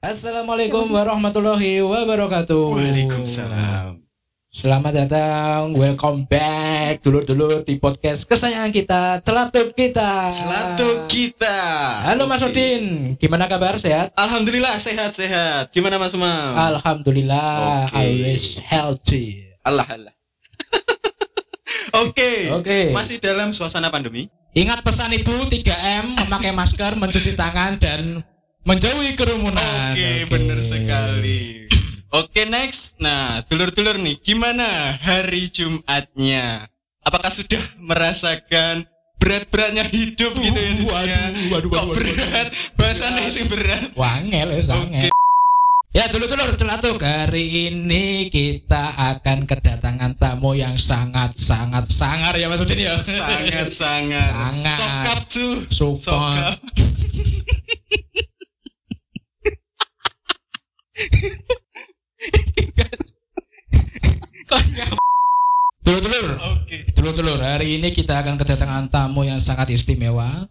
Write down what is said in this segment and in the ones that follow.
Assalamualaikum warahmatullahi wabarakatuh. Waalaikumsalam. Selamat datang, welcome back dulur-dulur di podcast kesayangan kita, Celatu kita. Selatu kita. Ah. Halo Mas Oke. Udin, gimana kabar sehat? Alhamdulillah sehat-sehat. Gimana Mas Umam? Alhamdulillah, Ah. Oke. always healthy. Allah Allah. Oke. Oke. Masih dalam suasana pandemi. Ingat pesan Ibu 3M, memakai masker, mencuci tangan dan menjauhi kerumunan. Oke, bener sekali. Oke, next. Nah, dulur-dulur nih, gimana hari Jumatnya? Apakah sudah merasakan berat-beratnya hidup gitu ya Waduh, dunia? waduh, waduh, Kok waduh, berat? Bahasannya sih berat. Wangel ya, sangel. Ya dulu dulu celatuk hari ini kita akan kedatangan tamu yang sangat sangat sangar ya Mas Udin ya. sangat sangat Sangat. sokap tuh Sokap. Dulu dulu oke dulu dulu hari ini kita akan kedatangan tamu yang sangat istimewa.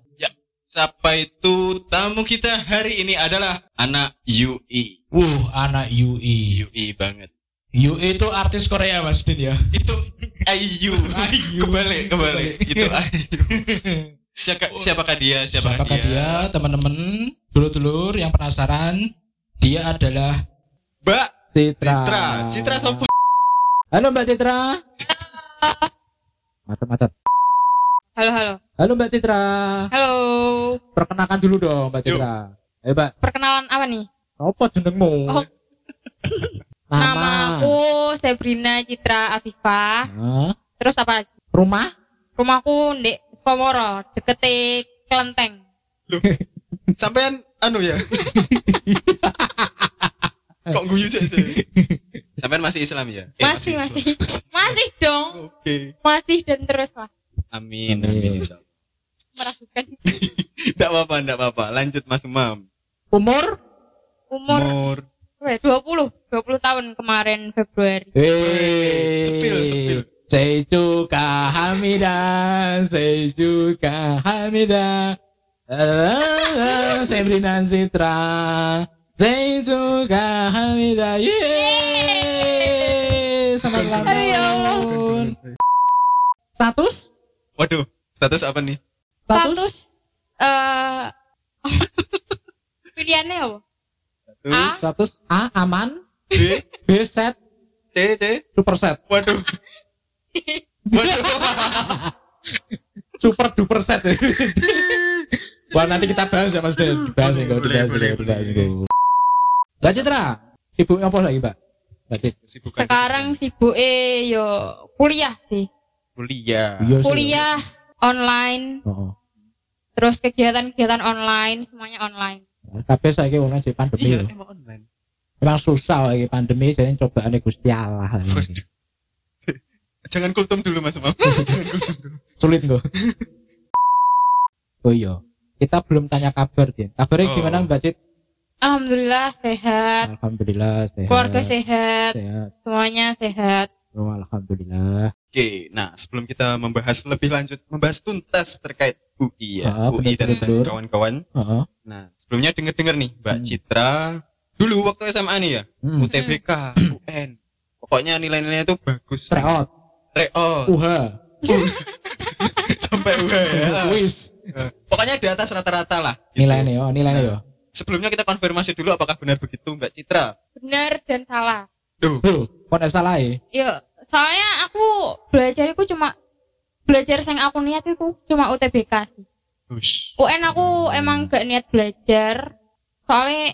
siapa itu tamu kita hari ini adalah anak UI Wuh anak UI. UI banget UI itu artis Korea Mas Udin ya. itu IU kebalik kebalik itu IU siapa siapakah dia siapakah, Siapakah dia teman-teman? Dulu dulur yang penasaran dia adalah Mbak Citra. Citra Citra sopo Halo Mbak Citra. Mata-mata. Halo, halo. Halo Mbak Citra. Halo. Perkenalkan dulu dong Mbak Yuk. Citra. Ayo Mbak, Perkenalan apa nih? apa jenengmu? Oh. Nama aku Sebrina Citra Afifa. Hah? Terus apa lagi? Rumah? Rumahku di Komoro, dekete Kelenteng. sampean anu ya kok guyu sih sih? sampean masih Islam ya Eh, Masih, masih. Islam. Masih dong. oke Masih dan terus lah. amin Amin. amin insyaallah. Meragukan. Enggak apa-apa, enggak apa-apa. Lanjut Mas Umam. Umur? Umur Umur. eh, 20, 20 tahun kemarin Februari. Wih. Sepil, sepil. Seijuka Hamida, Seijuka Hamida. Eh, Sebrina Citra. Seijuka Hamida. Yeay. Selamat ulang Ayo, ya Allah. tahun. Status? Waduh, status apa nih? Status eh pilihannya apa? Status Status A aman, B, B set, C, C. super set. Waduh. Waduh. super duper set Wah nanti kita bahas ya Mas Dil. Dibahas ya, Hmm. Boleh, dibahas boleh, ya, dibahas boleh. ya. Mbak Citra, sibuk apa lagi Mbak? Mbak Citra. Kesibukan Sekarang sibuk eh yo kuliah sih. kuliah. Iya sih. Kuliah online Oh, oh. terus kegiatan-kegiatan online semuanya online Kabeh saiki wong sing pandemi. Iya, ya. emang online. Emang susah lagi pandemi jadi cobaane Gusti Allah. Waduh. Jangan kultum dulu Mas Umam. Jangan kultum dulu. Sulit kok. Oh iya. Kita belum tanya kabar, Din. Kabarnya Oh. gimana Mbak Cit? alhamdulillah sehat Alhamdulillah sehat. keluarga sehat Sehat. semuanya sehat Oh, alhamdulillah. Oke, nah sebelum kita membahas lebih lanjut, membahas tuntas terkait UI ya, Ah, UI dan betul. kawan-kawan. Heeh. Nah, sebelumnya denger-denger nih Mbak Hmm. Citra dulu waktu SMA nih ya, Hmm. UTBK, UN. Pokoknya nilai-nilainya itu bagus. Treot, Treot UHA, sampai UH ya. wis. Pokoknya di atas rata-rata lah. gitu. Nilainya yo, nilainya yo. Sebelumnya kita konfirmasi dulu apakah benar begitu Mbak Citra. benar dan salah Duh, Bro, kok nek salah ya? yo soalnya aku belajar aku cuma belajar yang aku niat itu cuma UTBK sih ush. UN aku emang gak niat belajar soalnya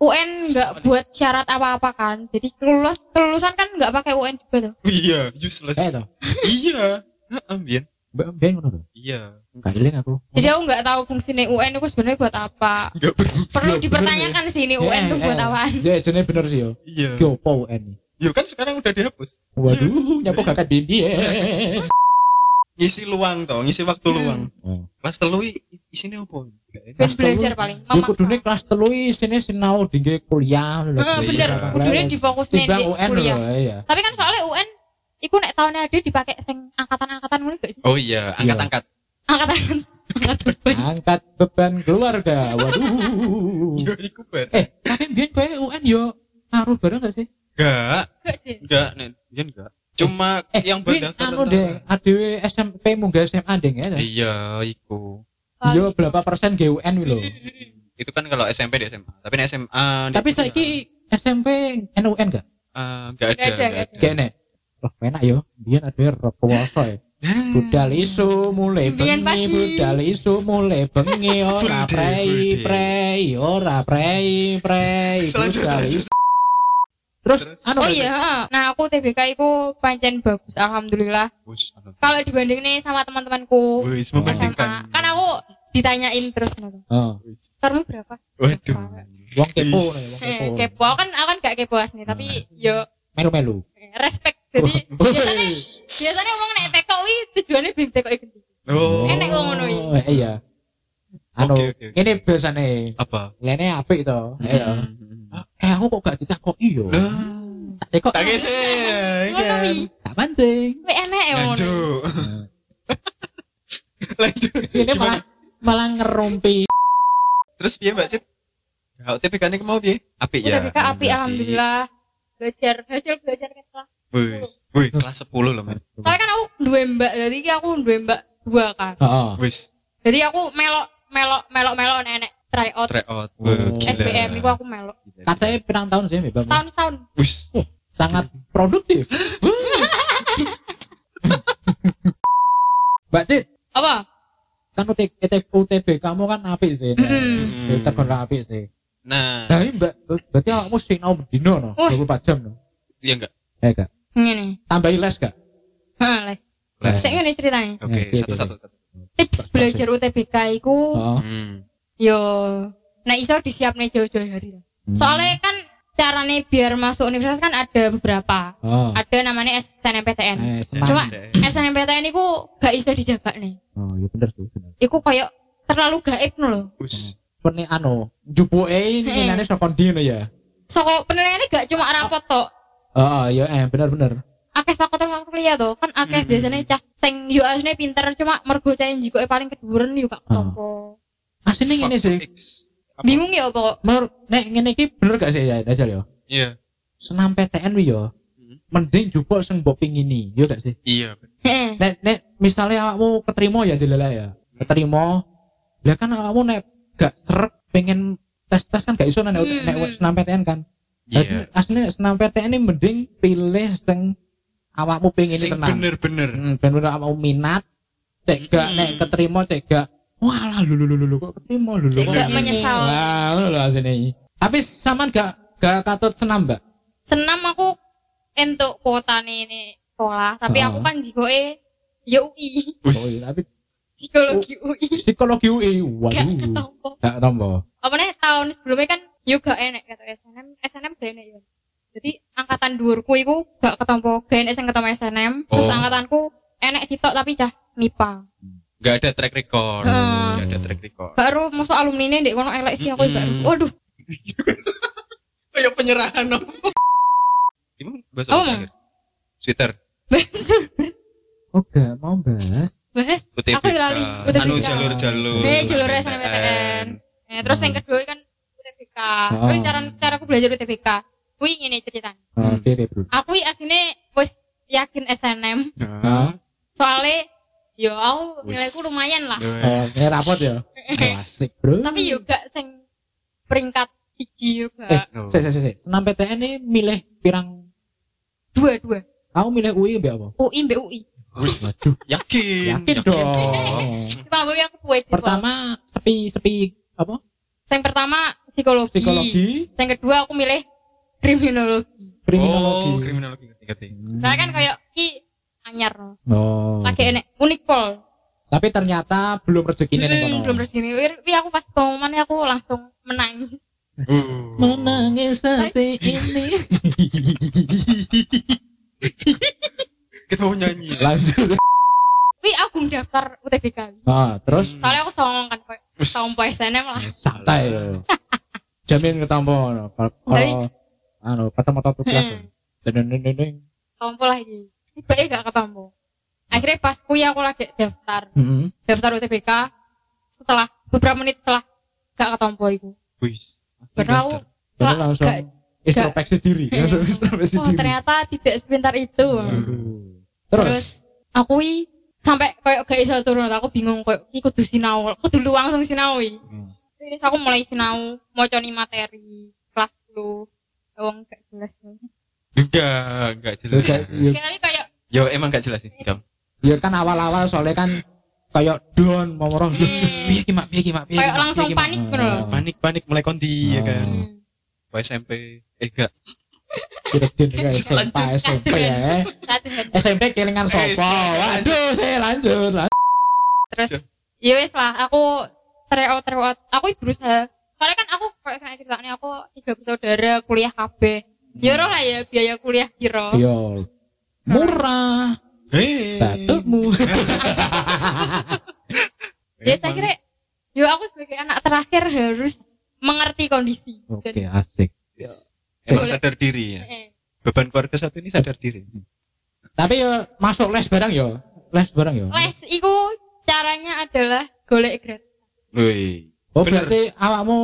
UN nggak Soalnya. buat syarat apa-apa kan jadi kelulus kelulusan kan nggak pakai UN juga tuh Iya, useless. Eh toh. iya. Heeh, Bian. Mbak Ben ngono lho. Iya. Kailing aku. jadi aku nggak tahu fungsinya UN itu sebenarnya buat apa Enggak berguna. Iya, perlu bener dipertanyakan sih ini UN Eh, tuh buat eh. apaan Ya jenenge bener sih yo. Iya. Ki opo UN? Yo kan sekarang udah dihapus. Waduh, nyapo kakak bibi ya. Ngisi luang toh, ngisi waktu Hmm. luang. Hmm. Kelas telu i- isinya apa? Nggak enak. Ben belajar paling Yo memaksa. kudune kelas 3 isine sinau dinggir kuliah lho. Heeh, Iya. Eh, bener kudune difokusin di Timbang UN lho, kuliah iya. tapi kan soalnya UN Iya. iku nek tahunnya ada dipakai sing angkatan-angkatan ngono gak sih Oh iya, angkat-angkat. angkatan angkat beban. Angkat beban keluarga. Waduh. Yo Iya, iku ben. eh, tapi biyen kowe UN yo ngaruh bareng gak sih? Enggak, Enggak deh. enggak, Nen. Iya enggak. Cuma Eh, yang Win, berdaftar anu tentara. deh, ADW SMP munggah SMA deh ya. deh. Iya, iku. Yo Iya, berapa persen GUN wi lho. Itu kan kalau SMP di SMA. Tapi di SMA di- Tapi saiki SMP NUN gak? Eh, enggak ada. Enggak ada, enggak ada. Kayak nih. Wah, enak yo. Biyen ADW reposo ya. Mm. Budal isu mulai Biyen bengi, pagi. budal isu mulai bengi Full ora day, full prei day. prei ora prei prei Selanjut, budal lanjut. isu. Terus, Terus. anu Oh Dek? iya, nah aku TBK itu pancen bagus, alhamdulillah. Wis, anu. Kalau dibanding nih sama teman-temanku Wis SMA, membandingkan. kan aku ditanyain terus nih. Oh, Wis. Sermu berapa? Waduh. wong kepo Is. nih, wong Eh, kepo. kepo aku kan aku kan gak kepo asli, Nah. tapi yo Melu-melu. eh, respect. Jadi biasanya biasanya wong nek teko wi tujuannya ben teko gede. Oh. Enak wong ngono iki. Oh, Iya. Anu, Oke, oke, oke. ini biasanya Apa? lene apik to. Iya. Eh aku kok gak ditakoki yo. Lah, Tak tekok. Nah, tak kese. Ngono wi. Tak pancing. Wi enak ya ngono. Lanjut. Lanjut. Ini Gimana? malah malah ngerumpi. Terus piye Mbak Cit? Kalau TPK ini mau piye? Apik ya. Udah BK api alhamdulillah. Belajar hasil belajar ke kelas. Wis. Wih, kelas 10 loh, men. Soalnya kan aku duwe mbak, jadi iki aku duwe mbak dua kan. Heeh. Wis, Jadi aku melok melok melok melok enek tryout try out. Oh. Wih, gila. SBM itu aku melok. Gila, gila. Katanya pirang tahun sih, Mbak. Setahun setahun. Wis. Oh, sangat produktif. Mbak Cit, Apa? kan UT- UT- UTB kamu kan apik sih. Mm-mm. Eh, Terkenal apik sih. Nah, Nah, ini Mbak, berarti kamu sing nau bendino no, Wah. 24 jam no. iya enggak? Eh, gak. Ngene. Tambahi les gak? Heeh, Les. Les. Sik ngene ceritanya. Oke, Oke, satu-satu. satu. Tips belajar UTBK iku Heeh. Hmm. yo nah iso disiapne jauh-jauh hari. Hmm. Soalnya kan carane biar masuk universitas kan ada beberapa. Oh. Ada namanya Eh, SNMPTN. senang. Cuma SNMPTN iku gak iso dijaga nih. Oh, ya bener sih, bener. Iku koyo terlalu gaib no lho. Wis. Pene anu, jupuke ini Eh. ngene saka ndi no ya? Soko penilaiannya gak cuma rapot tok. Heeh, ya eh bener-bener. akeh faktor-faktor liya to kan akeh Hmm. biasanya cah sing yo asline pinter cuma mergo cah yang jikoke paling keduren yo gak ketompo Asine ngene sih. Faktor X. Apa? bingung ya pokok Menurut nek ngene iki bener gak sih ya, Dajal ya? Iya. senam PTN wi yo Hmm. mending jupuk sing mbok pingini yo gak sih Iya. Heeh. nek nek misalnya awakmu keterima ya dileleh ya keterima lah kan awakmu nek gak seret pengen tes tes kan gak iso nek Hmm. nek senam PTN kan Jadi, Iya. asli nek senam PTN ini mending pilih sing awakmu pengen Sing Iya, tenang bener-bener. hmm, bener awakmu minat cek gak Hmm. nek keterima cek gak walah lu lu lu lu kok keterima lu lu Cek kok gak ini?" menyesal. lah ngono lho asline iki. tapi sampean gak gak katut senam mbak senam aku entuk kuota ini sekolah tapi Ah. aku kan jikoke yo UI oh iya, Wis. tapi psikologi UI psikologi UI gak waduh ketompo gak tombo apa nih tahun sebelumnya kan yo gak enek kata SNM SNM gak enek yo jadi angkatan dhuwurku iku gak ketompo gak enek sing ketompo SNM terus Oh. angkatanku enek sitok tapi cah nipa Enggak ada track Hmm. record. Heeh. Enggak ada track record. baru masuk alumni ini dek kono elek sih aku juga Mm-mm. waduh Kayak Oh, ya penyerahan apa? Gimana bahasa ya? Apa, apa? Mang? Twitter. oh gak mau bahas bahas UTBK. Aku lali, UTBK. Anu jalur-jalur. Eh, jalur SNMPTN. Eh, terus yang kedua kan UTBK Oh. Wih, cara cara aku belajar UTBK wih ini ceritanya oh, Hmm. dede bro aku iki aslinya wis yakin SNM Heeh. soalnya yo ya, aku Wis. nilaiku lumayan lah oh, ini rapot ya asik bro tapi yo gak sing peringkat siji yo eh gak saya saya saya senam PTN ini milih pirang dua dua kamu milih UI mbak apa UI mbak UI Wis. waduh Yakin. Oh, yakin dong Cuma aku yang kedua Depo. pertama sepi sepi apa yang pertama psikologi. psikologi yang kedua aku milih kriminologi kriminologi Oh, kriminologi ngerti ngerti. Hmm. Soalnya kan kayak ki anyar no. oh. Lagi enek unikpol. tapi ternyata belum rezeki ini Hmm, belum resini. Wir- Wi aku pas pengumumannya aku langsung menangis. Uh. menangis hati ini Kita mau Iya. nyanyi. lanjut Wi aku daftar UTBK. ah terus Soalnya aku songong kan kayak Wis. tompo SNM lah. santai yo. jamin ketampo no. Kalau- kalau anu ketemu tuh kelas Hmm. deng Tompo lah iki. Hmm. Tiba gak ketompo. Akhirnya pas kuya aku lagi daftar, daftar UTBK. setelah beberapa menit setelah gak ketompo iku. Wis. Padahal Blaster. Lah, Padahal langsung gak- introspeksi diri, Iya. langsung introspeksi oh, diri. ternyata tidak sepintar itu. Hmm. Aduh. Terus, Terus, aku i sampai kayak gak iso turun aku bingung kayak iki kudu sinau. Aku dulu langsung sinau i. Hmm. Terus aku mulai sinau moconi materi kelas 10. Wong gak jelas. Enggak, enggak jelas. Enggak, iya. Tapi kayak Yo emang enggak jelas sih. Gam. ya kan awal-awal soalnya kan kayak down mau ngomong, "Loh, Hmm. piye ki mak, piye ki mak, piye ki, Kayak Mak, langsung piye ki, Mak?" panik ngono loh. Panik panik mulai kondi ya kan. Hmm. hmm, Wah, SMP. Eh enggak. Dirjen kayak SMP, Lanjut. SMP ya. eh. satu hari. SMP kelingan Eh, sopo. silakan. Waduh, saya lanjut. lan- Cuk. terus ya wis lah aku tryout tryout aku berusaha soalnya kan aku kayak saya ceritanya aku tiga bersaudara kuliah kabeh Hmm. ya roh lah ya biaya kuliah kira Yo. Murah, Hei. batutmu. ya saya kira yo aku sebagai anak terakhir harus mengerti kondisi Oke, asik. Emang sadar diri ya. eh, Beban keluarga satu ini sadar diri. Tapi yo masuk les bareng yo. Les bareng yo. les iku caranya adalah golek gratis Woi. Oh, Bener. berarti awakmu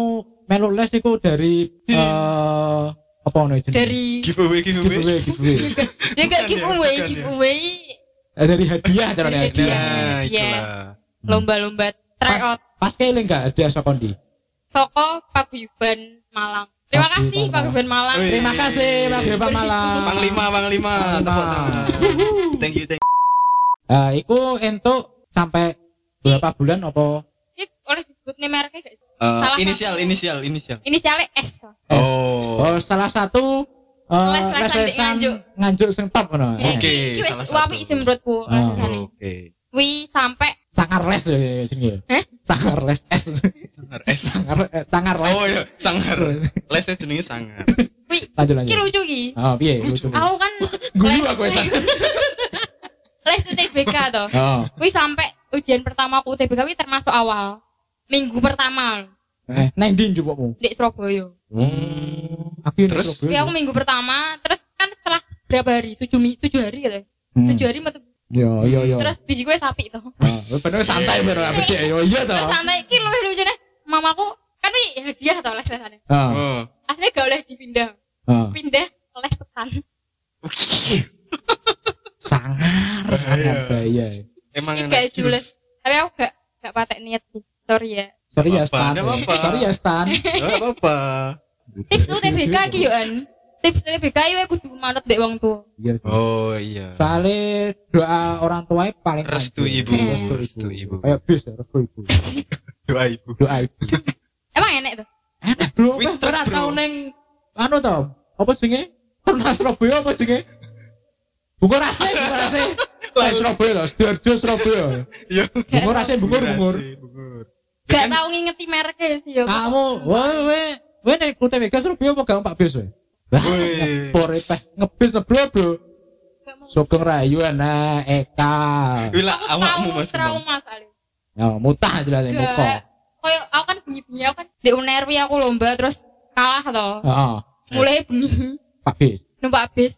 melu les iku dari eh Hmm. apa ono jenenge? dari Giveaway giveaway. giveaway, giveaway. Bukan dia gak ya, giveaway bukan ya. giveaway Eh, dari hadiah caranya Dari hadiah. Nah, Iya. itulah. lomba-lomba tryout Hmm. Pas keling enggak hadiah sokondi. soko paguyuban malam terima Paguyuban kasih Malam. paguyuban malam Wih. Terima kasih Pak Bebang Malam. Panglima, panglima, Panglima. tepuk tangan. Thank you, thank you. Eh, iku entuk sampai berapa bulan apa ini oleh disebut nih mereknya gak sih? Eh, Salah inisial, satu. inisial, inisial. inisialnya S lah. Eh, Oh, Oh, salah satu eh, Les-lesan di les-lesan Nganjuk. nganjuk sing top ngono. Ya, Eh, Oke, iki wis salah Wapi satu. sih menurutku. Oh. rasane. oke. Wi sampai Sangar les ya ya, jenenge. Eh? Sangar les es. Sangar S. Sangar eh, sangar les. Oh, iya, sangar. Lesnya jenenge sangar. wi Lanjut iki lanjut. lucu ki. Oh, piye? Lucu. Lucu. Aku kan Guyu les- aku ya, esan. Les UTBK toh. Oh. Wi sampai ujian pertama aku UTBK wi termasuk awal. Minggu pertama Eh, neng ndi njupukmu? di Surabaya. Aku ini Hmm, Terus? Surabaya. Wi Ya, aku minggu pertama terus kan setelah berapa hari? 7 mi 7 hari gitu. ya. Hmm. Iya. 7 hari metu. Yo yo yo. Terus biji gue sapi toh. Oh, bener santai bener abis ya. Yo iya toh. Terus santai iki luwih lucune mamaku kan wi hadiah toh les-lesane. Heeh. Oh. Aslinya gak boleh dipindah. Heeh. Pindah les tekan. Sangar sangar Bahaya. bahaya. Emang Ini enak gak gitu. jelas. Tapi aku gak gak patek niat sih. Sorry ya. Sorry ya Nggak apa-apa, Stan. nggak apa-apa. Sorry ya Stan. Nggak apa-apa. Tips UTBK ki yo an. Tips UTBK yo kudu manut dek wong tua. Iya. Oh iya. Soalnya doa orang tua paling Restu panjang. ibu, restu ibu. Kayak bis ya, restu ibu. Doa ibu. Doa ibu. Emang enek tuh. Enak Eh, bro, Winter, weh, ora bro. tau neng anu to. Apa jenenge? Ternas Surabaya apa jenenge? Bungur rase, bungur rase. Lah Surabaya lho, Sidoarjo Surabaya. Iya. Bungur rase, bungur Durasi, bungur. bungur. Gak Kan- tau ngingeti mereknya ya sih yo. Ya Kamu, weh weh, weh neng UTBK Surabaya apa gak Pak Bis weh? Wah, Weh. ngepor eh, peh. ngebis bro bro. Gak mau. Sugeng Rayu ana Eka. Wih lah, Tahu awakmu mas. Bang. trauma kali. Ya mutah jelas ning Gak. muka. Kayak aku kan bunyi-bunyi aku kan di UNER wi aku lomba terus kalah toh. Heeh. Mulai bunyi Pak Bis. numpak bis.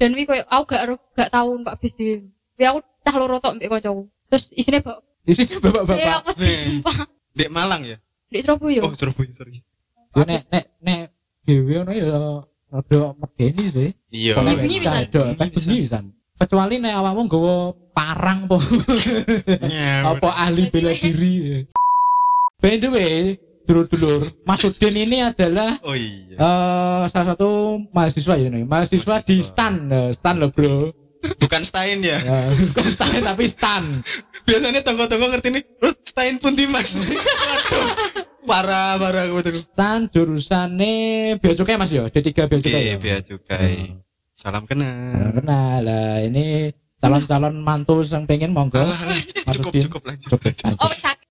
Dan wi kayak aku gak ro- gak tau numpak bis dhewe. Wi aku cah loro tok mbek kancaku. Terus isine bak. Di sini Wi bapak-bapak. aku disumpah Dek Malang ya? di Surabaya. Oh, Surabaya, sorry. Yo nek nek nek dhewe ono ya rada medeni sih. Iya. Pokoknya Bengi cah pisan. edo, teh bengi pisan. Kecuali nek awakmu nggawa parang po Iya, apa ahli bela diri. By the way, dulur-dulur, Mas Udin ini adalah Oh iya. eh salah satu mahasiswa ya nih, mahasiswa, Mahasiswa. di stan, eh, stan lo bro, Bukan Stein ya. Eh, bukan stan tapi stan. Biasanya tonggo-tonggo ngerti nih. "Ruh, Stein pun timas. Waduh. Parah, parah aku tuh. Stan jurusannya bea cukai mas yo, D3 bea Oke, cukai. ya? bea Iya, cukai. Salam kenal. Nah, lah ini calon-calon mantu yang pengen monggo. Alah, alah, cukup, Udin. cukup lanjut. lanjut. Oh sakit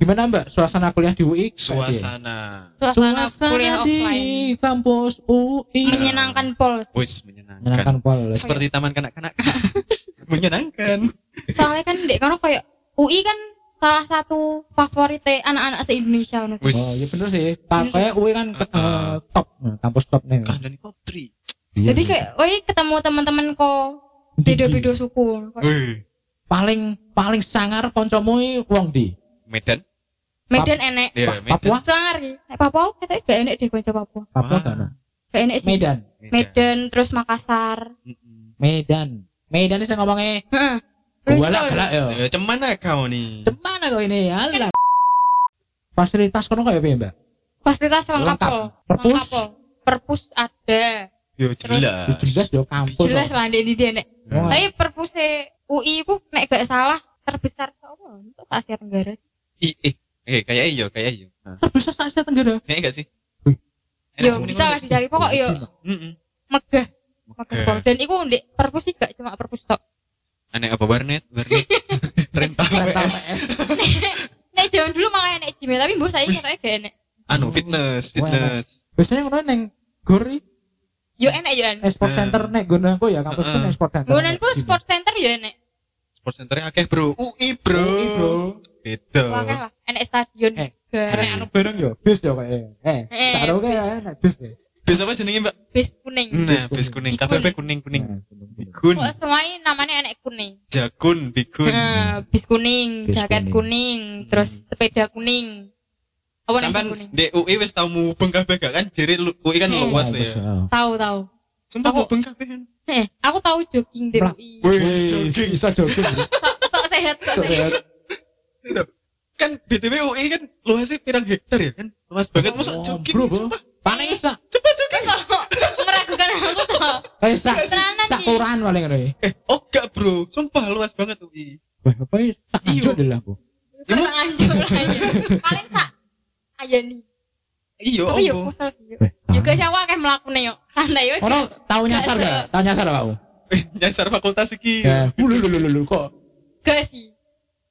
Gimana Mbak suasana kuliah di UI? Suasana. suasana Iya. kuliah di offline. kampus UI Menyenangkan pol. Wis menyenangkan. menyenangkan pol. Seperti taman kanak-kanak. menyenangkan. soalnya kan dek kono kayak UI kan salah satu favorit anak-anak se Indonesia ngono. Wis. Oh, iya bener sih. Pakai UI kan ke- Iya. eh, top, Nah, kampus top nih. Kandani top 3. iya Jadi kayak oi ketemu teman-teman kok beda-beda suku. Wih. paling paling sangar koncomu i wong di. Medan. Medan enek. Pa- Ya, Papua, Sangari. Nek Papua katanya gak enek deh konco Papua. Papua Wah. gak ada. Gak enek sih. Medan, Medan terus Makassar. Mm-mm. Medan. Medan ini saya ngomongnya Heeh. Terus Gua lah itu- gelak ya. Eh, Cemana kau nih? Cemana kau ini? Iya. Alah. Fasilitas kono kayak piye, Mbak? Fasilitas lengkap. Lengkap. pol. Perpus? Lengkap, pol. Perpus ada. Yo Terus- jelas. Hmm. Jelas yo kampus. Jelas lah ndek ndi enek. Oh. Tapi perpus UI ku nek gak salah terbesar sopo untuk Asia Tenggara. I, eh, eh, kayak iyo, kayak iyo. Nah. Terbesar se Asia Tenggara. Ya enggak sih? Wih. Enak Yo semuanya, bisa lah enak sih. dicari pokok yo Mm-mm. megah. Megah Megah. pol. Dan iku ndek perpus sih gak cuma perpus tok. Aneh Ah, apa warnet? Warnet. Rental Rental PS. PS. Nek zaman dulu malah enek Gmail tapi mbok saiki Wis. katanya gak enek. Anu fitness, fitness. Biasanya ngono neng Gori Yo enek yo enek. Export Eh. Center nek gunungku ya kampusku Eh, eh. uh, Export Center. Gonanku sport center yo enek. Sport centernya akeh bro. UI bro. Bro. Bro. Beda. Wakil lah. Enek stadion. Eh, Gak. Nek anu bareng yo bis yo kayak. Eh, Eh, saro kae bis. nek bis. ya. Bis apa jenenge mbak? Bis Hmm, kuning. eh. Nah, bis kuning. Bikun. KPP kuning kuning. Nah, bener-bener. Bikun. Kok semuanya namanya enek kuning. Jakun, bikun. Heeh, bis kuning, Bis kuning. jaket Hmm. kuning, terus sepeda kuning. Apa nih Sampai kuning? di UI wis tau mubeng kabeh gak kan? Jadi lu- UI kan Eh. luas Nah, ya. terus, Tahu tahu. Sumpah Aku- mubeng kabeh kan. Eh, aku tahu jogging di Lah. UI. oh. Wih, Wih, jogging. Iso jogging. Sok sehat, Iso sok sehat. sehat. Kan BTW UI kan luasnya pirang hektar ya kan? Luas banget masa Oh, jogging. bro, bro. Sumpah, Paling wis lah. sumpah jogging. Kok meragukan aku toh? Eh, sak Tenanan sak iki. kelurahan paling ngono. iki. Eh, oh gak bro. Sumpah luas banget UI. Wah, apa ya? iki? sak Iyo. anjuk deh lah aku. Terus anjur aja. Paling sak aja nih. Iya, Tapi ya, yuk ombo. kusel yuk. Weh, Yuk guys, aku akeh melakukan yuk. Santai yuk. Ono tau nyasar Gak gak? Tau nyasar gak aku? Eh, Nyasar fakultas iki. Ya, lulu lulu lulu kok. Gak sih.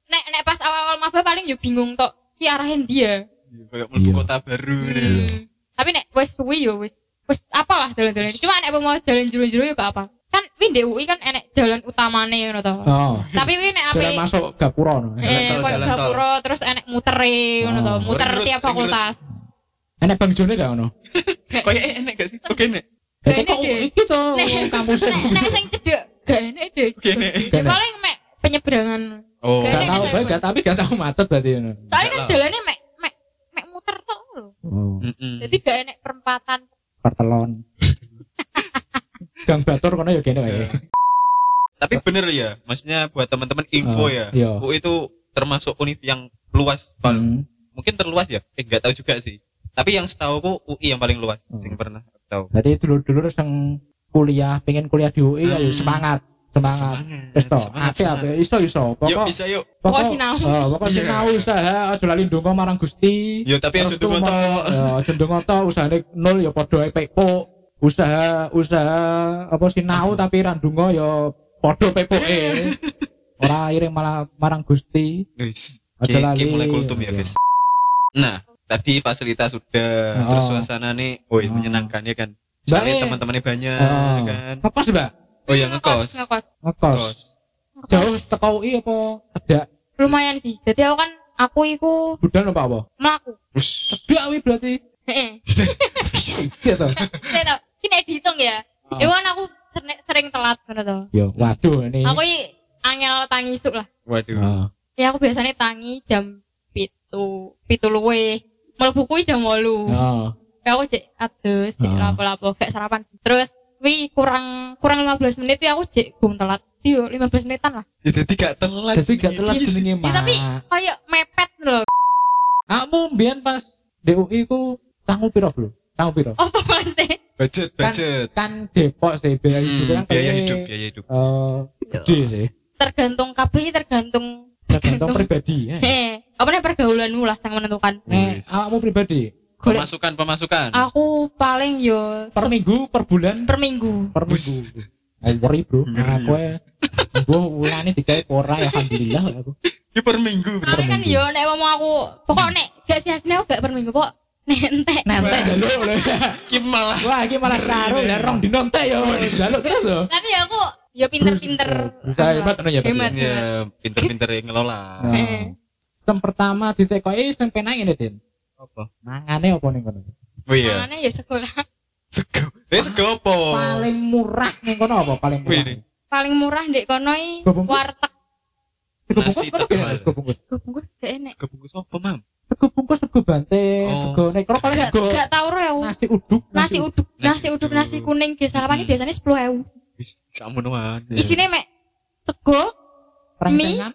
Nek nek pas awal-awal maba paling yuk bingung tok. Ki arahin dia. Iya, Kayak mlebu Iya. kota baru. gitu. Hmm. Tapi nek wis suwi yo wis wis apalah dalan-dalan. Cuma nek mau jalan jero-jero yo gak apa. Kan wi ndek UI kan enek jalan utamane ngono to. Oh. Tapi wi nek ape Jalan masuk Gapura no. eh Jalan tol, koyo jalan Gapura terus enek mutere ngono to, Oh. muter Ring road, ring tiap road. fakultas. Enak Bang Jone gak ono? Kayak eh, enak gak sih? Oke, enak. Kayak Gak enak kok deh. iki to Nek- kampusnya. Nek nek sing cedek gak enek deh. gitu. Gak enek. Gak enek. Paling mek penyeberangan. Oh. Gak Gak tahu enak, bae gak tapi gak tahu macet berarti ngono. Soalnya kan Gak lah. dalane mek mek mek muter tok lho. Oh, Jadi gak enek perempatan. pertelon. Gang Batur kono ya kene kae. Tapi bener ya, maksudnya buat teman-teman info Eh, ya. iya. UI itu termasuk univ yang luas paling Hmm. mungkin terluas ya eh nggak tahu juga sih tapi yang setahu UI yang paling luas Hmm. yang pernah aku tahu Jadi dulur-dulur sing kuliah, pengen kuliah di UI ayo Hmm. semangat, semangat. Eh, Wis to, semangat, ate semangat. ate iso iso. yuk Pokok bisa yuk pokok Pokok sinau. Oh, pokok Iya. sinau usaha aja lali ndonga marang Gusti. yuk tapi aja Terus tuh tuh, Ya, aja ndonga to usahane nol ya padha ae pepo. Usaha usaha apa sinau tapi ra ndonga ya padha pepoke. Ora iring malah marang Gusti. guys Aja lali. mulai kultum ya Iya. guys nah tadi fasilitas sudah Oh. terus suasana nih woi Oh. menyenangkan ya kan Mbak, Soalnya eh, teman-temannya banyak Oh. kan Ngekos, Mbak? oh ya Ngekos, ngekos ngekos. Ngekos. ngekos Ngekos. Jauh teko UI apa cedak? Lumayan sih. Jadi aku kan aku iku Budal apa apa? melaku. Ush. Cedak UI berarti. Heeh. Iya toh. Saya tau, ini nek dihitung ya. Ah. Iwan aku serne- sering telat ngono to. Yo, Ya, waduh ini. Aku i- angel tangi isuk lah. waduh Ah. Ya aku biasanya tangi jam pitu, pitu luwe. Mlebu kuwi jam 8. Ah. Ya aku cek aduh, cek Ah. lapo-lapo gak sarapan. Terus wi kurang kurang 15 menit ya aku cek gong telat. Yo 15 menitan lah. ya jadi gak telat Jadi gak telat Iya sih. jenenge Ya, tapi mak. kayak mepet lho. Kamu mbiyen pas DUI ku tanggung piro, Bro? Tanggung piro? Apa maksudnya? budget Kan- budget Kan Depok sih biaya hidup Hmm, kan biaya kayaknya, hidup biaya hidup eh, gede sih. Tergantung kabeh tergantung Tergantung pribadi. ya. eh apa nih pergaulanmu lah yang menentukan. Nek Wis. awakmu pribadi Golek pemasukan pemasukan aku paling yo per minggu, per bulan, per minggu. per minggu. Wis. Eh, worry, Bro. Ngeri, Nah, ya. kowe gua ulane digawe ora ya alhamdulillah aku. ya per minggu bro Tapi kan minggu. yo nek mau aku pokok nek gak sih hasilnya aku gak per minggu pokok nek entek. Nanti jaluk lho. Ki malah Wah, iki malah iya. sarung dan rong dino entek yo. Jaluk terus yo. Tapi ya aku yo pinter-pinter. Bisa hemat ngono ya, Pak. Hemat. hemat. ya pinter-pinter yang ngelola Nah. Yang pertama ditekoki sing penang ngene, Din. apa Mangane opo ning kono? oh iya Makanya ya sekolah sego eh sego apa Paling murah ning kono apa paling murah? Wih, paling murah ndek kono i Babungkus. warteg. Sego bungkus Nasi kan tegal. gak sego bungkus. Sego bungkus gak enak. Sego bungkus apa, Mam? Sego bungkus sego bante, Oh. sego nek karo paling Gak, sego gak tau roh ya. nasi uduk. Nasi uduk, Nasi nasi uduk, nasi uduk. kuning, di salamannya Hmm. Iya. biasanya sepuluh ewu. Wis sakmono wae. Isinya mek sego, Rengsengan,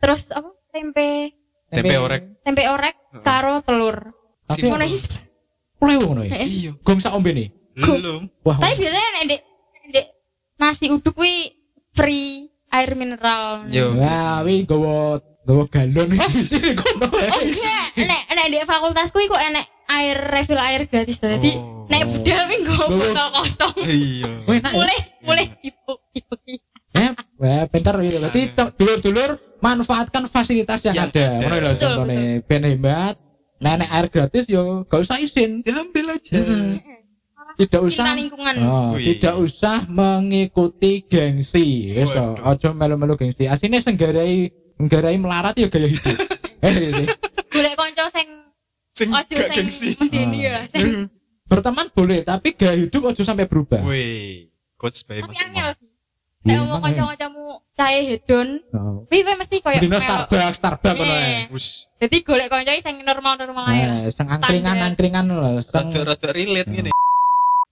terus apa? Tempe, tempe orek. tempe orek, Heeh. karo telur. Tapi Simpel. Ngono iki sep- Mulai ngono ya. eh. Iya, Gom sak ombe nih. belum. Wah. Tapi biasanya nek ndek ndek nasi uduk kuwi free air mineral. Yo. Wah, wi gowo gowo galon iki kono. Oh enggak, nek nek ndek fakultas kuwi kok enek air refill air gratis Dadi Oh. nek budal ming nggo Loh. botol kosong. Iya. Enak ya. Mulai mulai dipuk dipuk. Eh, wah, pinter gitu. Berarti Sangat. to- dulur-dulur manfaatkan fasilitas yang Yang ada. ada. Ngono lho Betul, contone ben hemat. Nenek air gratis yo gak usah izin. Diambil Ya, aja. Mm-mm. Tidak Cinta usah lingkungan. Oh, Wih. tidak usah mengikuti gengsi. Wis to, Waduh. aja melu-melu gengsi. Asine senggarai nggarai melarat ya gaya hidup. eh, iya sih. Golek kanca sing Sing ojo gak sing gengsi. medeni Ah. ya. Sing- Berteman boleh, tapi gaya hidup aja sampai berubah. Weh, coach bae Tapi masuk. angel. Iya, Nek mau makanya. kanca-kancamu cahe hedon, Oh. kuwi kuwi mesti koyo Dino melok. Starbucks, Starbucks ngono ya. Iya. ya. Wis Jadi golek kanca sing normal-normal ae. lah. Eh, sing angkringan-angkringan lho, sing rada-rada relate ngene.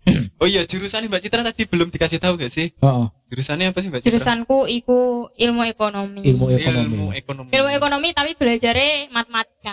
Mm. Oh iya, jurusan Mbak Citra tadi belum dikasih tahu gak sih? Oh, oh, Jurusannya apa sih Mbak Citra? Jurusanku iku ilmu ekonomi. ilmu e- ilmu ekonomi. ekonomi. Ilmu ekonomi tapi belajarnya matematika.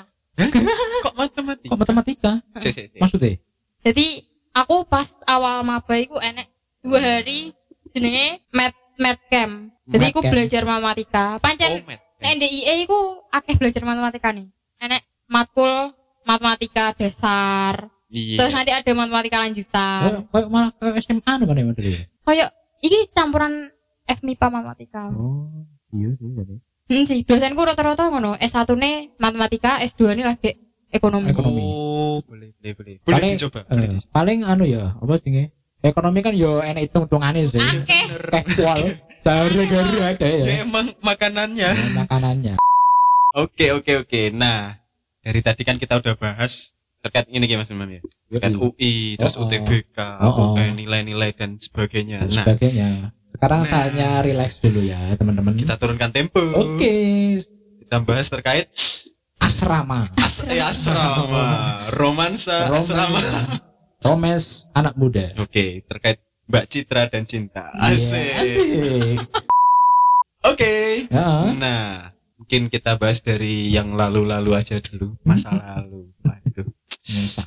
Kok matematika? Kok matematika? Sik, sik, sik. Maksudnya? Jadi aku pas awal maba iku enek dua hari jenenge mat mat camp. Jadi aku Matcamp. belajar matematika. Oh, Pancen mat. nek DIE iku akeh belajar matematika nih. Enek matkul matematika dasar. Terus Iya. nanti ada matematika lanjutan. Kayak malah kayak SMA nu kan ya Madrid. Kayak iki campuran FMIPA matematika. Oh, iya sih jadi. Hmm sih, dosenku rata-rata ngono. S1 ne matematika, S2 ne lagi ekonomi. Ekonomi. Oh, boleh, boleh, boleh. Boleh Paling- dicoba. Eh, Boleh dicoba. paling anu ya, apa sih nge? Ekonomi kan yo enak hitung-hitungannya sih. Akeh. Kayak kual, gara-gara ada ya. Ya emang makanannya. makanannya. Oke oke oke. Nah dari tadi kan kita udah bahas terkait ini ya Mas Imam ya. Terkait Yoi. UI, terus Oh, oh. UTBK, Oh, oh. pokoknya nilai-nilai dan sebagainya. dan Nah sebagainya. Sekarang Nah. saatnya relax dulu ya, teman-teman. kita turunkan tempo. Oke, Kita bahas terkait asrama. as- eh, asrama, romansa asrama. Romes anak muda. Oke terkait Mbak Citra dan Cinta. Iya, Asik. asik. Ya. Oke. Heeh. Nah mungkin kita bahas dari yang lalu-lalu aja dulu masa lalu. Waduh.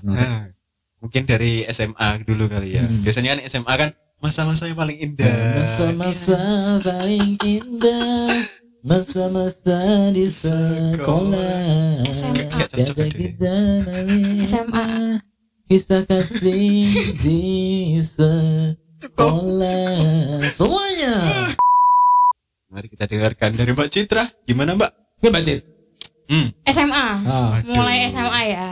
Nah, mungkin dari SMA dulu kali ya. Hmm. Ah, Biasanya kan SMA kan masa-masa yang paling indah. Masa-masa paling indah Masa-masa di sekolah SMA. Gak cocok Jaga ada ya. kita SMA. Kisah kasih di Iya, sekolah Semuanya Mari kita dengarkan dari Mbak Citra. Gimana Mbak? Oke Mbak Cid Hmm. SMA. Ah, Aduh. Mulai SMA ya.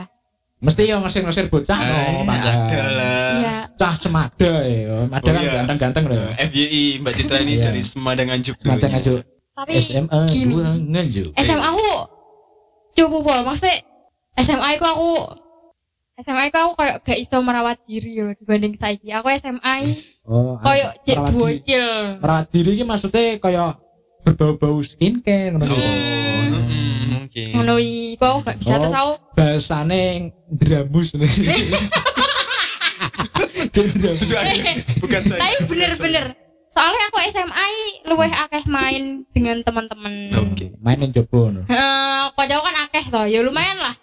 Mesti yang ngesir-ngesir bocah Eh, Ah, no, padahal. ada lah. Iya. Cah semada ya Ada Oh, kan iya. ganteng-ganteng loh FYI Mbak Citra ini Iya. dari Semadang Nganjuk. ya. dulunya. Ganteng aja Tapi SMA gini. Eh, 2 nganjuk SMA aku coba pol maksudnya SMA aku aku SMA aku aku kayak gak iso merawat diri loh dibanding saiki aku SMA Oh, kayak cek merawat diri. bocil merawat diri ini maksudnya kayak berbau-bau skincare ngono Oh, lho. hmm, mungkin. ngono iya. iki aku gak bisa Oh. terus aku bahasane dramus nih Jadi dramus. Itu ada. Bukan saya. tapi bukan bener-bener soalnya aku SMA luweh Hmm. akeh main dengan teman-teman saya. Oke. main yang jopo no. Eh, kocok kan akeh toh ya lumayan lah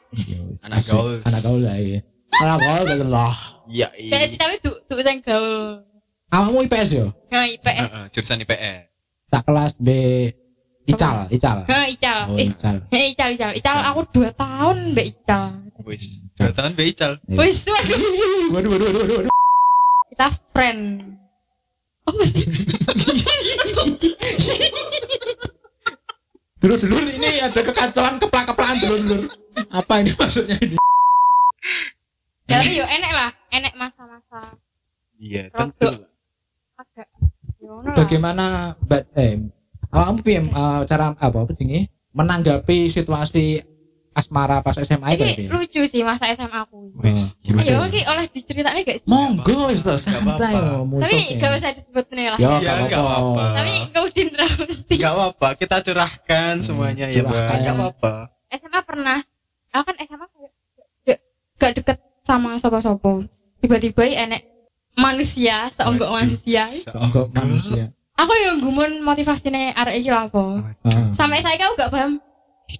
Anak Asik. gaul. anak gaul lah iya anak gaul betul lah Iya. iya. Jadi tapi tuh tuh sing gaul awakmu IPS yo nah Eh, IPS eh, jurusan IPS. tak kelas B Ical Ical nah Ical oh eh Ical eh, Ical Ical Ical Ical. aku dua tahun mbak Ical Wis. Dua tangan Mbak Ical. Iya. wis waduh waduh waduh waduh waduh kita friend apa sih dulur dulur ini ada kekacauan keplak keplakan dulur dulur apa ini maksudnya ini tapi yo enek lah enek masa-masa Iya, Rodok. tentu. agak yo ngono lah bagaimana mbak eh awakmu piye eh, cara apa apa sih menanggapi situasi asmara pas SMA itu ini ya, Pi? lucu sih masa SMA aku Wis. Oh. Gimana? ayo oke oleh diceritain gak sih monggo wis Ya. to Gak santai apa-apa. yo musuh tapi gak usah disebut nih lah yo Iya, gak gak apa-apa. apa-apa tapi kau din terus mesti nggak apa-apa kita curahkan Hmm, semuanya ya mbak curahkan. nggak apa-apa SMA pernah aku kan SMA kayak gak- gak deket sama sopo-sopo tiba-tiba ya enek manusia seonggok Waduh, manusia Enggak seonggok. manusia. aku yang gumun motivasinya arek iki lho apa Nah, Ah. sampai saya aku gak paham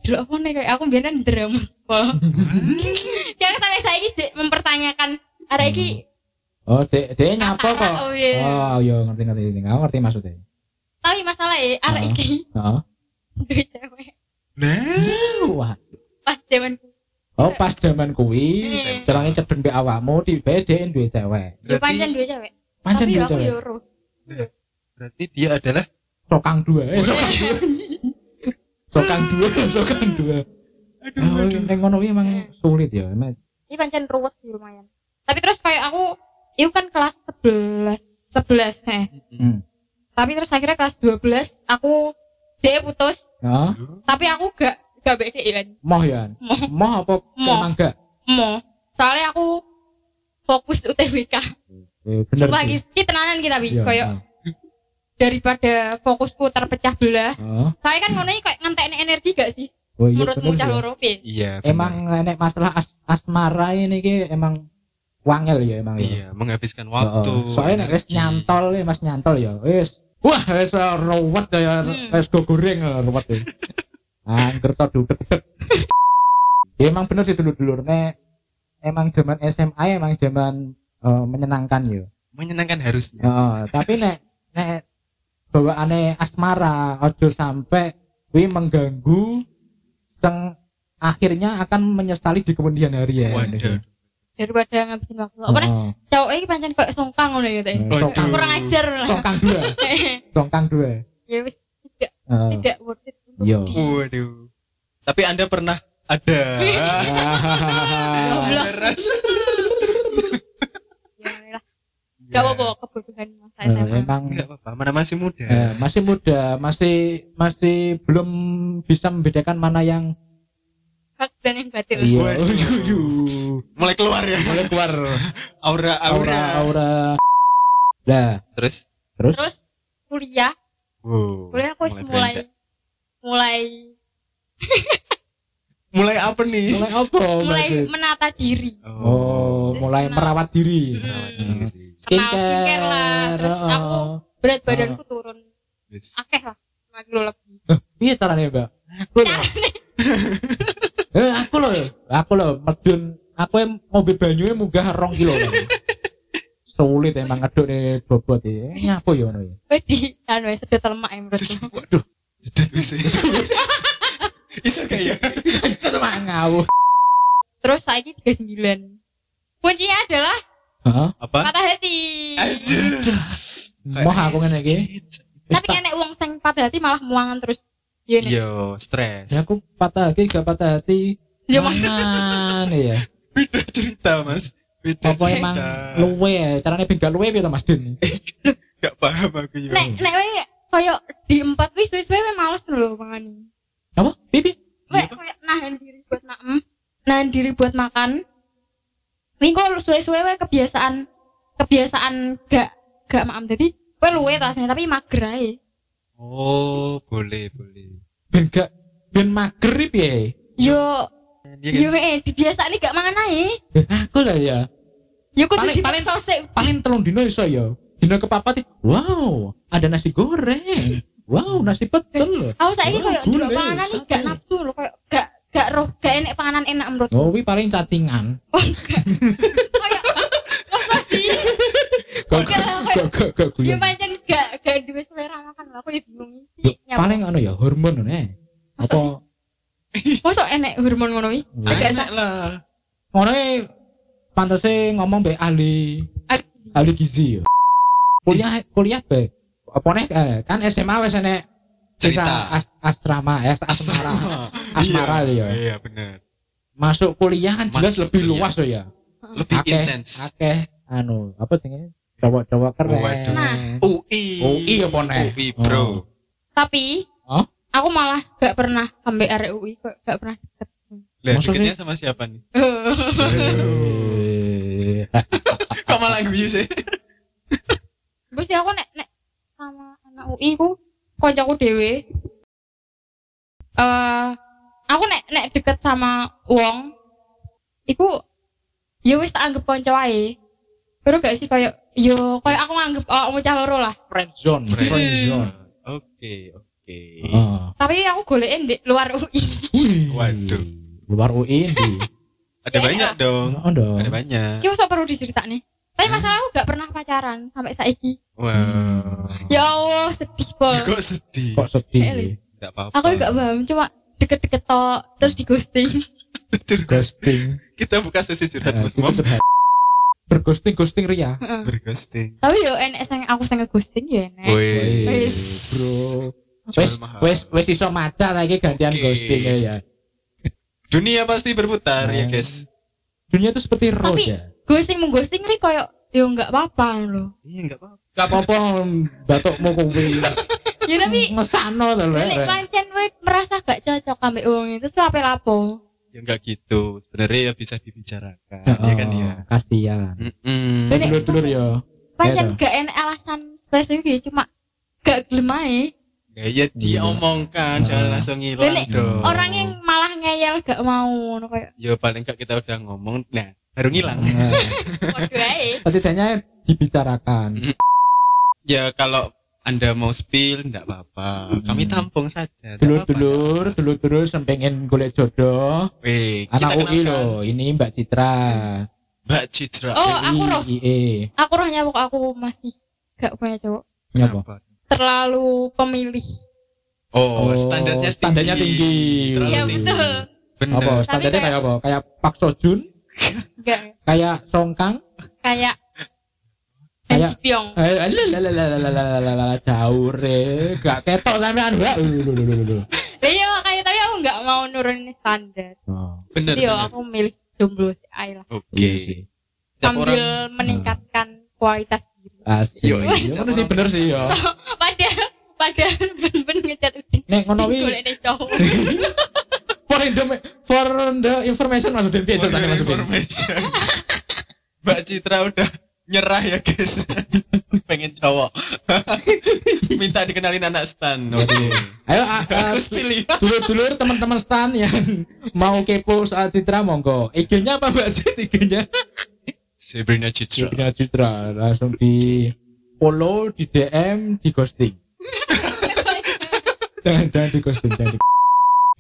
dulu apa nih kayak aku biasanya drama apa yang sampai saya iki jek mempertanyakan arek iki Oh, dek dek nyapa kok. Oh, iya. Oh, iya ngerti ngerti ngerti. Aku ngerti maksudnya. tapi masalah ya arek Ah. iki Heeh. duwe cewek nah Wah. pas zaman Oh, pas zaman kuwi Hmm. cerange cedeng mbek awakmu tiba dek duwe cewek. yo Berarti- pancen duwe cewek Pancen tapi duwe aku ya cewek. yo roh berarti dia adalah Sokang dua. Eh, sokang dua. Sokang dua, sokang dua. Oh, yang ngono kuwi emang Hmm. sulit ya. Emang ini pancen ruwet sih lumayan tapi terus kayak aku itu kan kelas 11 11 eh Hmm. tapi terus akhirnya kelas 12 aku dia putus Oh, tapi aku gak gak beda kan moh ya. Moh. Moh apa Moh. emang enggak? mau soalnya aku fokus UTBK Eh, bener Sumpah sih. iki iki tenanan kita bi Iya, kayak ah. daripada fokusku terpecah belah Oh, saya kan ngono iki kayak ngentekne energi gak sih oh, iya, menurutmu bener cah ya. loro piye? iya benar. Emang nek masalah as- asmara ini ki emang wangel ya emang. ya. iya menghabiskan waktu Heeh. Soalnya nek wis energi. nyantol ya Mas nyantol ya. Wis. Wah, wis uh, ruwet ya Hmm. wis go goreng uh, ruwet. ya. Angger to dudek-dudek. ya emang bener sih dulur-dulur nek emang zaman SMA emang zaman uh, menyenangkan ya. menyenangkan harusnya Heeh, Oh, tapi nek nek bawaane asmara ojo sampai kuwi mengganggu sing akhirnya akan menyesali di kemudian hari ya. Oh, Waduh. daripada ngabisin waktu apa nih Heeh. cowok iki pancen kayak songkang ngono ya teh Waduh. Songkang, kurang ajar lah songkang dua, songkang dua. ya wis tidak Heeh. tidak worth it untuk Hmm. Iya. di- waduh tapi anda pernah ada Goblok. ada rasa ya lah gak apa-apa kebodohan masa Eh, SMA Iya. emang nggak apa-apa mana masih muda eh, masih muda, masih masih belum bisa membedakan mana yang hak dan yang batil iya. Waduh. mulai keluar ya Mulai keluar aura aura, aura aura. Nah, terus terus, terus kuliah wow, kuliah aku wis mulai beranjak. mulai mulai apa nih Oh, mulai apa? mulai Mbak Jit? menata diri Oh, mulai Senang. merawat diri. Mm-mm. Merawat diri. Kenal skincare lah, terus oh. aku berat badanku turun Wis. akeh lah lima kilo lebih Piye caranya, Mbak? Aku loh. eh, aku loh, aku loh medun. Aku yang mobil banyunya munggah rong kilo. loh. Sulit emang ngeduk nih bobot ya. Nyapo ya ngono ya. wedi anu ya, sedot lemak ya menurutku Waduh, Sedot wis. Iso kayak itu mah ngawur. terus saiki 39 kuncinya adalah Heeh. apa? patah hati Aduh. Moh aku ngene iki. tapi kan- enek wong sing patah hati malah muangan terus iya nih Yo, Ya stres. aku patah hati gak patah hati. Ya, Mas. Jangan ya. Beda cerita, Mas. Beda Apa emang cerita. luwe ya? Caranya ben gak luwe piye to Mas Din? Eh. Gak paham aku ya. yo. nek nek we koyo di empat wis wis we males lho mangani Apa? Pipi? Kayak kayak nahan diri buat naem, nahan diri buat makan. Minggu lu suwe-suwe wae kebiasaan kebiasaan gak gak maem dadi kowe luwe to asline, tapi mager ae. Oh, boleh, boleh. Ben gak ben ya. mager piye? Yo Iya yo kan? eh dibiasani gak mangan ae. Ya, aku lah ya. Yo kudu Paling- paling- dipaksa sik. paling telung dino iso ya dino kepapat wow ada nasi goreng wow nasi pecel Aku saiki Wah, koyo boleh, ndelok panganan iki sate. gak nafsu lho koyo gak gak roh gak enek panganan enak menurut. oh wi paling cacingan Oh, Koyo apa sih? Kok- Oke lah, oke. kok kok kok Yo guyon. pancen gak gak duwe selera makan lho aku yo bingung Yo, iki. nyapa. paling anu ya hormon nih Masa sih? apa Mosok enek hormon ngono iki? Wah. Agak kan? Enak lah. ngono pantasnya ngomong be ahli sa- ahli gizi ya kuliah kuliah be apa nih eh, kan SMA wes enek sisa Cerita. as- asrama eh, asmara asmara Iya, ya. Iya, bener. Mm. masuk kuliah kan jelas Masuk lebih kuliah. luas loh ya Lebih akeh intens. akeh anu apa sih cowok-cowok keren Oh, Waduh. Nah. UI. UI apa, Nek? UI, Bro. Oh. tapi Hah? aku malah gak pernah sampai RUI kok gak pernah deket Lah, Maksudnya? deketnya sama siapa nih? Waduh. Kok malah guyu sih? terus ya aku nek nek sama anak UI ku koncoku dhewe. Eh aku nek nek deket sama wong iku ya wis tak anggap kanca wae. Kero gak sih koyo yo koyo aku nganggep awakmu cah loro lah. friend zone Friend Hmm. friend zone Oke, oke. Ah. Tapi aku goleknya di luar UI. Wih. Oh. Waduh. luar UI di Ada Iya. banyak dong. oh dong Ada banyak. Iki sok perlu diceritakne. Tapi Hmm. masalah aku gak pernah pacaran sampai saiki. Wow. Ya Allah, sedih banget. Kok sedih? kok sedih ya? Enggak apa-apa. Aku gak paham, cuma deket-deket tok terus di ghosting. Curhat. ghosting Kita buka sesi curhat Nah, Mas itu Mom. curhat. berghosting ghosting ria Heeh. Berghosting. Tapi yo enek sing aku sing ghosting yo enek. Woi. Wih, Wis. bro Jual wes mahal. wes wes iso maca lagi gantian Oke. ghosting ya Dunia pasti berputar ya, guys. dunia itu seperti Tapi roda ghosting mengghosting ri koyo yo gak apa-apa lho. Iya, enggak apa-apa. gak apa-apa batukmu kuwi Ya tapi ngesakno to lho eh. nek pancen kowe merasa gak cocok ambek wong itu terus ape lapo? Ya enggak gitu. Sebenarnya ya bisa dibicarakan, Oh, ya kan ya. kasihan Mm-mm. Bener. Nek- dulur-dulur ya Pancen Iya gak enek alasan spesifik ya, cuma gak gelem ae. Ya, ya diomongkan, jangan Ah. langsung ngilang Nek- dong. Oh. Orang yang malah ngeyel gak mau ngono koyo Ya paling enggak kita udah ngomong, nah baru ngilang. Nah, padha ae. setidaknya dibicarakan ya kalau Anda mau spill enggak Hmm. apa-apa. Kami tampung saja. enggak apa-apa. dulur-dulur dulur-dulur sing pengen golek jodoh Weh, kita anak UI kenalkan. loh ini Mbak Citra E. Mbak Citra. Oh, aku roh IE aku roh nyamuk aku masih gak punya cowok nyapa Kenapa? terlalu pemilih Oh, Oh, standarnya tinggi. standarnya tinggi. Terlalu ya Iya, tinggi. betul Bener. apa standarnya kayak- kayak apa kayak Pak Sojun enggak kayak Songkang kayak Han Kayak- Ji Pyong eh lalalalalalalalala, jauh re gak ketok sampean Wah, lu, lu, lu, lu, lu. Lah iya makanya tapi aku gak mau nurunin standar Oh, Bener. jadi yo bener. aku milih jomblo si Ai lah Oke. iya sih. Setiap sambil orang- meningkatkan kualitas diri asik Yo, Iya, wis. ngono sih bener sih yo padahal padahal ben-ben ngecat udin nek ngono wi golekne cowok for the for the information maksudnya piye Order ceritanya maksudnya information. Mbak Citra udah nyerah ya guys. Pengen cowok. Minta dikenalin anak stan. Oke. ayo a- a- Aku ya. pilih. dulur-dulur teman-teman stan yang mau kepo soal Citra monggo IG-nya apa Mbak Cit IG-nya Sabrina Citra. Citra Citra langsung di follow di DM di ghosting jangan jangan di ghosting jangan di-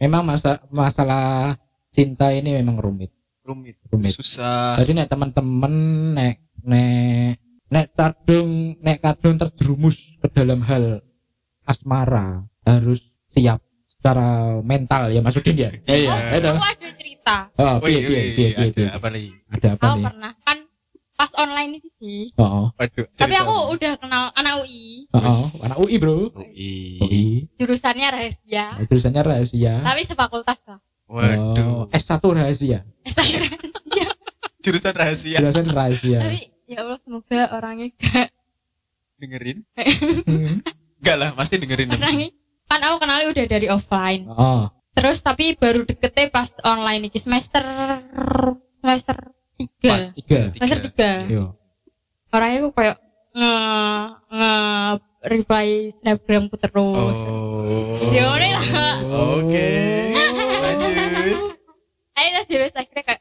memang masa masalah cinta ini memang rumit Rumit. rumit Susah. jadi nek teman-teman nek nek nek kadung nek kadung terjerumus ke dalam hal asmara harus siap secara mental ya maksudin ya Iya. itu aku ada cerita oh piye Wih, piye wih, piye piye, ada piye. apa lagi? ada apa aku nih pernah kan pas online itu sih oh Waduh. tapi cerita. Oh, aku udah kenal anak UI oh, oh. anak UI Iya. bro Ui. UI jurusannya rahasia tulisannya rahasia tapi sefakultas lah Oh, Waduh. S1 rahasia Instagram Jurusan rahasia. jurusan rahasia tapi ya Iya Allah semoga orangnya Dengerin. Hmm. Enggak lah, pasti dengerin. orangnya kan aku kenalnya udah dari offline oh terus tapi baru deketnya pas online iki semester semester tiga tiga semester Tiga. tiga yo orangnya aku kayak nge nge reply snapgramku terus Oh. Sione lah. Oke. Lanjut. akhirnya terus dia akhirnya kayak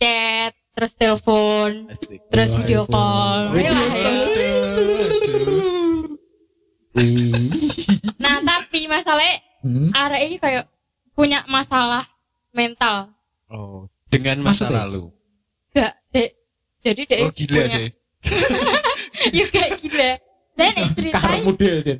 chat terus telepon Asik. terus Oh, video iPhone. call Video Wah, call. ya. Ih. nah tapi masalahnya Hmm. arek ini kayak punya masalah mental Oh, dengan masa Maksudnya? lalu. Enggak, Dek. Jadi Dek Oh, gila Eh, punya- deh. Ya kayak gila. Dan karep ceritanya, model Den.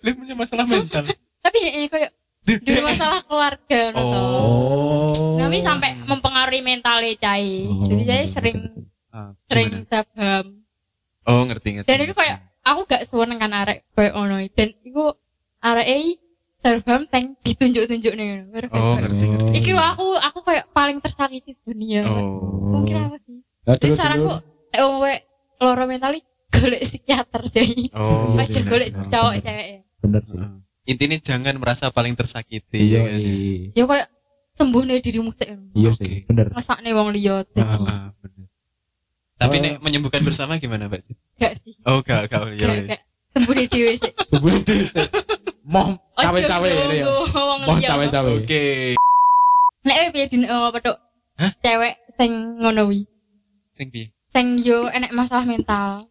Dia punya masalah mental. Eh, tapi ini kayak dulu masalah keluarga ngono toh. oh Kami sampai mempengaruhi mentalnya Cai. Oh, Jadi Cai betul, sering betul, Ah, sering gimana? sabam. Oh, ngerti ngerti. Dan itu kayak aku gak seneng kan arek koyo ono. Dan iku arek e sabam teng ditunjuk-tunjuk Oh, nih. betul. ngerti ngerti. Iki lho aku aku kayak paling tersakiti dunia. Oh. Mungkin apa sih? Ya, dulur-dulur. Terus saranku nek wong kowe loro mental iki, golek psikiater sih. Oh. Pas Aja benar, golek benar. cowok cewek ya. bener sih. Heeh. Intinya jangan merasa paling tersakiti iya ya kan. iya. ya kayak sembuh nih dirimu sih iya Oke. sih bener masak nih wong liya Ah, tadi ah, benar. Tapi Oh. nek menyembuhkan bersama gimana, Mbak? gak sih Oh, gak gak ya gak wis. gak sembuh nih dhewe sih Sebuah desa. moh cawe-cawe ini ya. Moh cawe-cawe. Oke. Nek kowe piye dine apa tok? Cewek sing ngono wi. Sing piye? Sing yo enek masalah mental.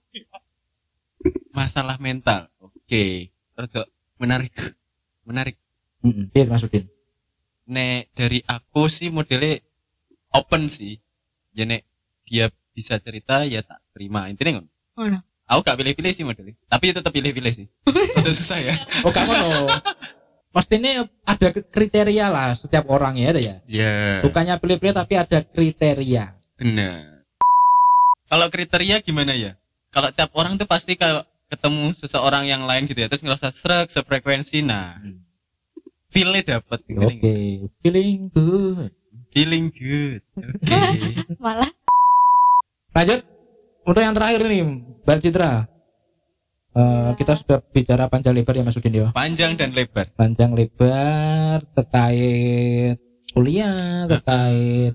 Masalah mental. Oke. Rada menarik. Menarik. Heeh. Piye masukin? Nek dari aku sih modelnya open sih. Ya nek dia bisa cerita ya tak terima. Intinya ngono. Ngono. Aku gak pilih-pilih sih modelnya. Tapi tetap pilih-pilih sih. Udah susah ya. Oh, gak ngono. Pastinya ada kriteria lah setiap orang ya, ada ya. Ya. Bukannya pilih-pilih tapi ada kriteria. Benar. Kalau kriteria gimana ya? Kalau tiap orang tuh pasti kalau ketemu seseorang yang lain gitu ya, terus ngerasa serak, sefrekuensi, nah Hmm. feelnya dapet, Oke, feeling, feeling good. feeling good. Oke. Malah Lanjut. Untuk yang terakhir nih, Mbak Citra. Eh, kita sudah bicara panjang lebar ya Mas Udin ya. Panjang dan lebar. Panjang lebar terkait kuliah, terkait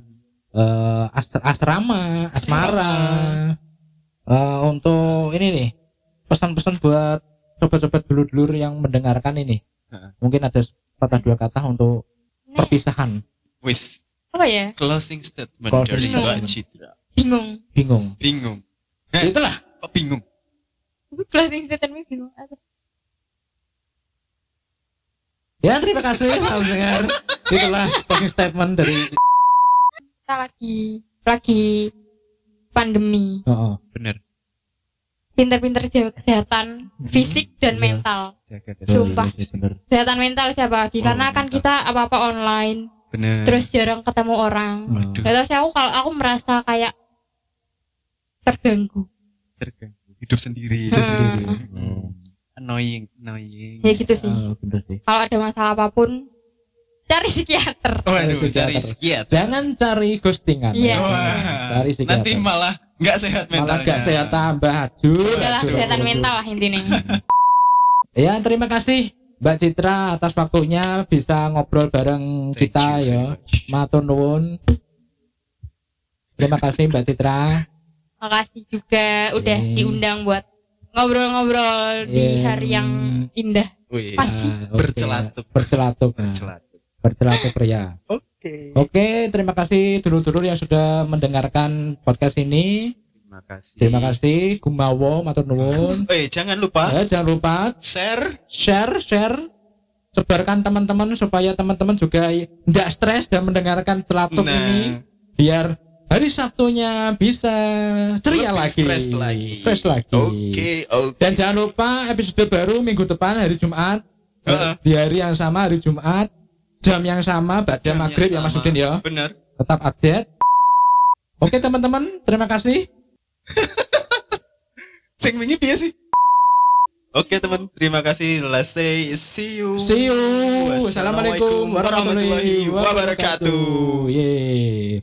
eh, as- asrama, asmara. Eh, untuk ini nih, pesan-pesan buat sobat-sobat dulur-dulur yang mendengarkan ini. Heeh. Mungkin ada patah dua kata untuk nek perpisahan. Wis, apa ya? closing statement Closing dari Mbak statement. Citra. Bingung. Bingung. Bingung. Itulah Kok bingung? Aku closing statement bingung. Apa? Ya terima kasih selamat mendengar. Itulah closing statement dari. Kita lagi lagi pandemi. Oh, oh. Bener. Pinter-pinter jaga kesehatan fisik dan Iya. mental. Jaga kesehatan. Sumpah. Bener. Kesehatan mental siapa lagi? Oh, Karena mental. kan Eh. kita apa-apa online, Bener. terus jarang ketemu orang. Waduh. Gak tau sih aku kalau aku merasa kayak terganggu. terganggu. Hidup sendiri. Hidup sendiri. Hmm. Annoying, annoying. Ya gitu sih. Ah, bener sih. Kalau ada masalah apapun cari psikiater. Waduh, Iya, Harus cari sejahtera. sekiat. Jangan cari ghostingan. Iya. Jangan. Cari psikiater. nanti malah nggak sehat mentalnya. Malah gak sehat tambah hancur. Adalah hancur, kesehatan hancur. mental lah intinya. Ya terima kasih Mbak Citra atas waktunya bisa ngobrol bareng Thank kita you ya. very much. Matur nuwun. Terima kasih Mbak Citra. Makasih juga udah Yeay. diundang buat ngobrol-ngobrol di Yeay. hari yang indah. Wis. Pas. Kasih. Ah, oke. Bercelatup. Bercelatup. nah. Bercelatup. Bercelatup ya. Oke. Oke, terima kasih dulur-dulur yang sudah mendengarkan podcast ini. Terima kasih. Terima kasih, gumawa, matur nuwun. Eh, jangan lupa Eh, jangan lupa share. share, share, sebarkan teman-teman supaya teman-teman juga tidak stres dan mendengarkan celatup Nah. ini biar hari Sabtunya bisa ceria lebih lagi, Fresh lagi. fresh lagi. Oke, oke. Dan jangan lupa episode baru minggu depan hari Jumat Eh, Heeh. di hari yang sama hari Jumat jam yang sama baca Jam yang maghrib ya sama. Mas Udin ya Bener. tetap update. Oke teman-teman, terima kasih. Sing wingi piye sih? Oke, teman. Terima kasih. Let's say see you. See you. Assalamualaikum warahmatullahi wabarakatuh. Yeay.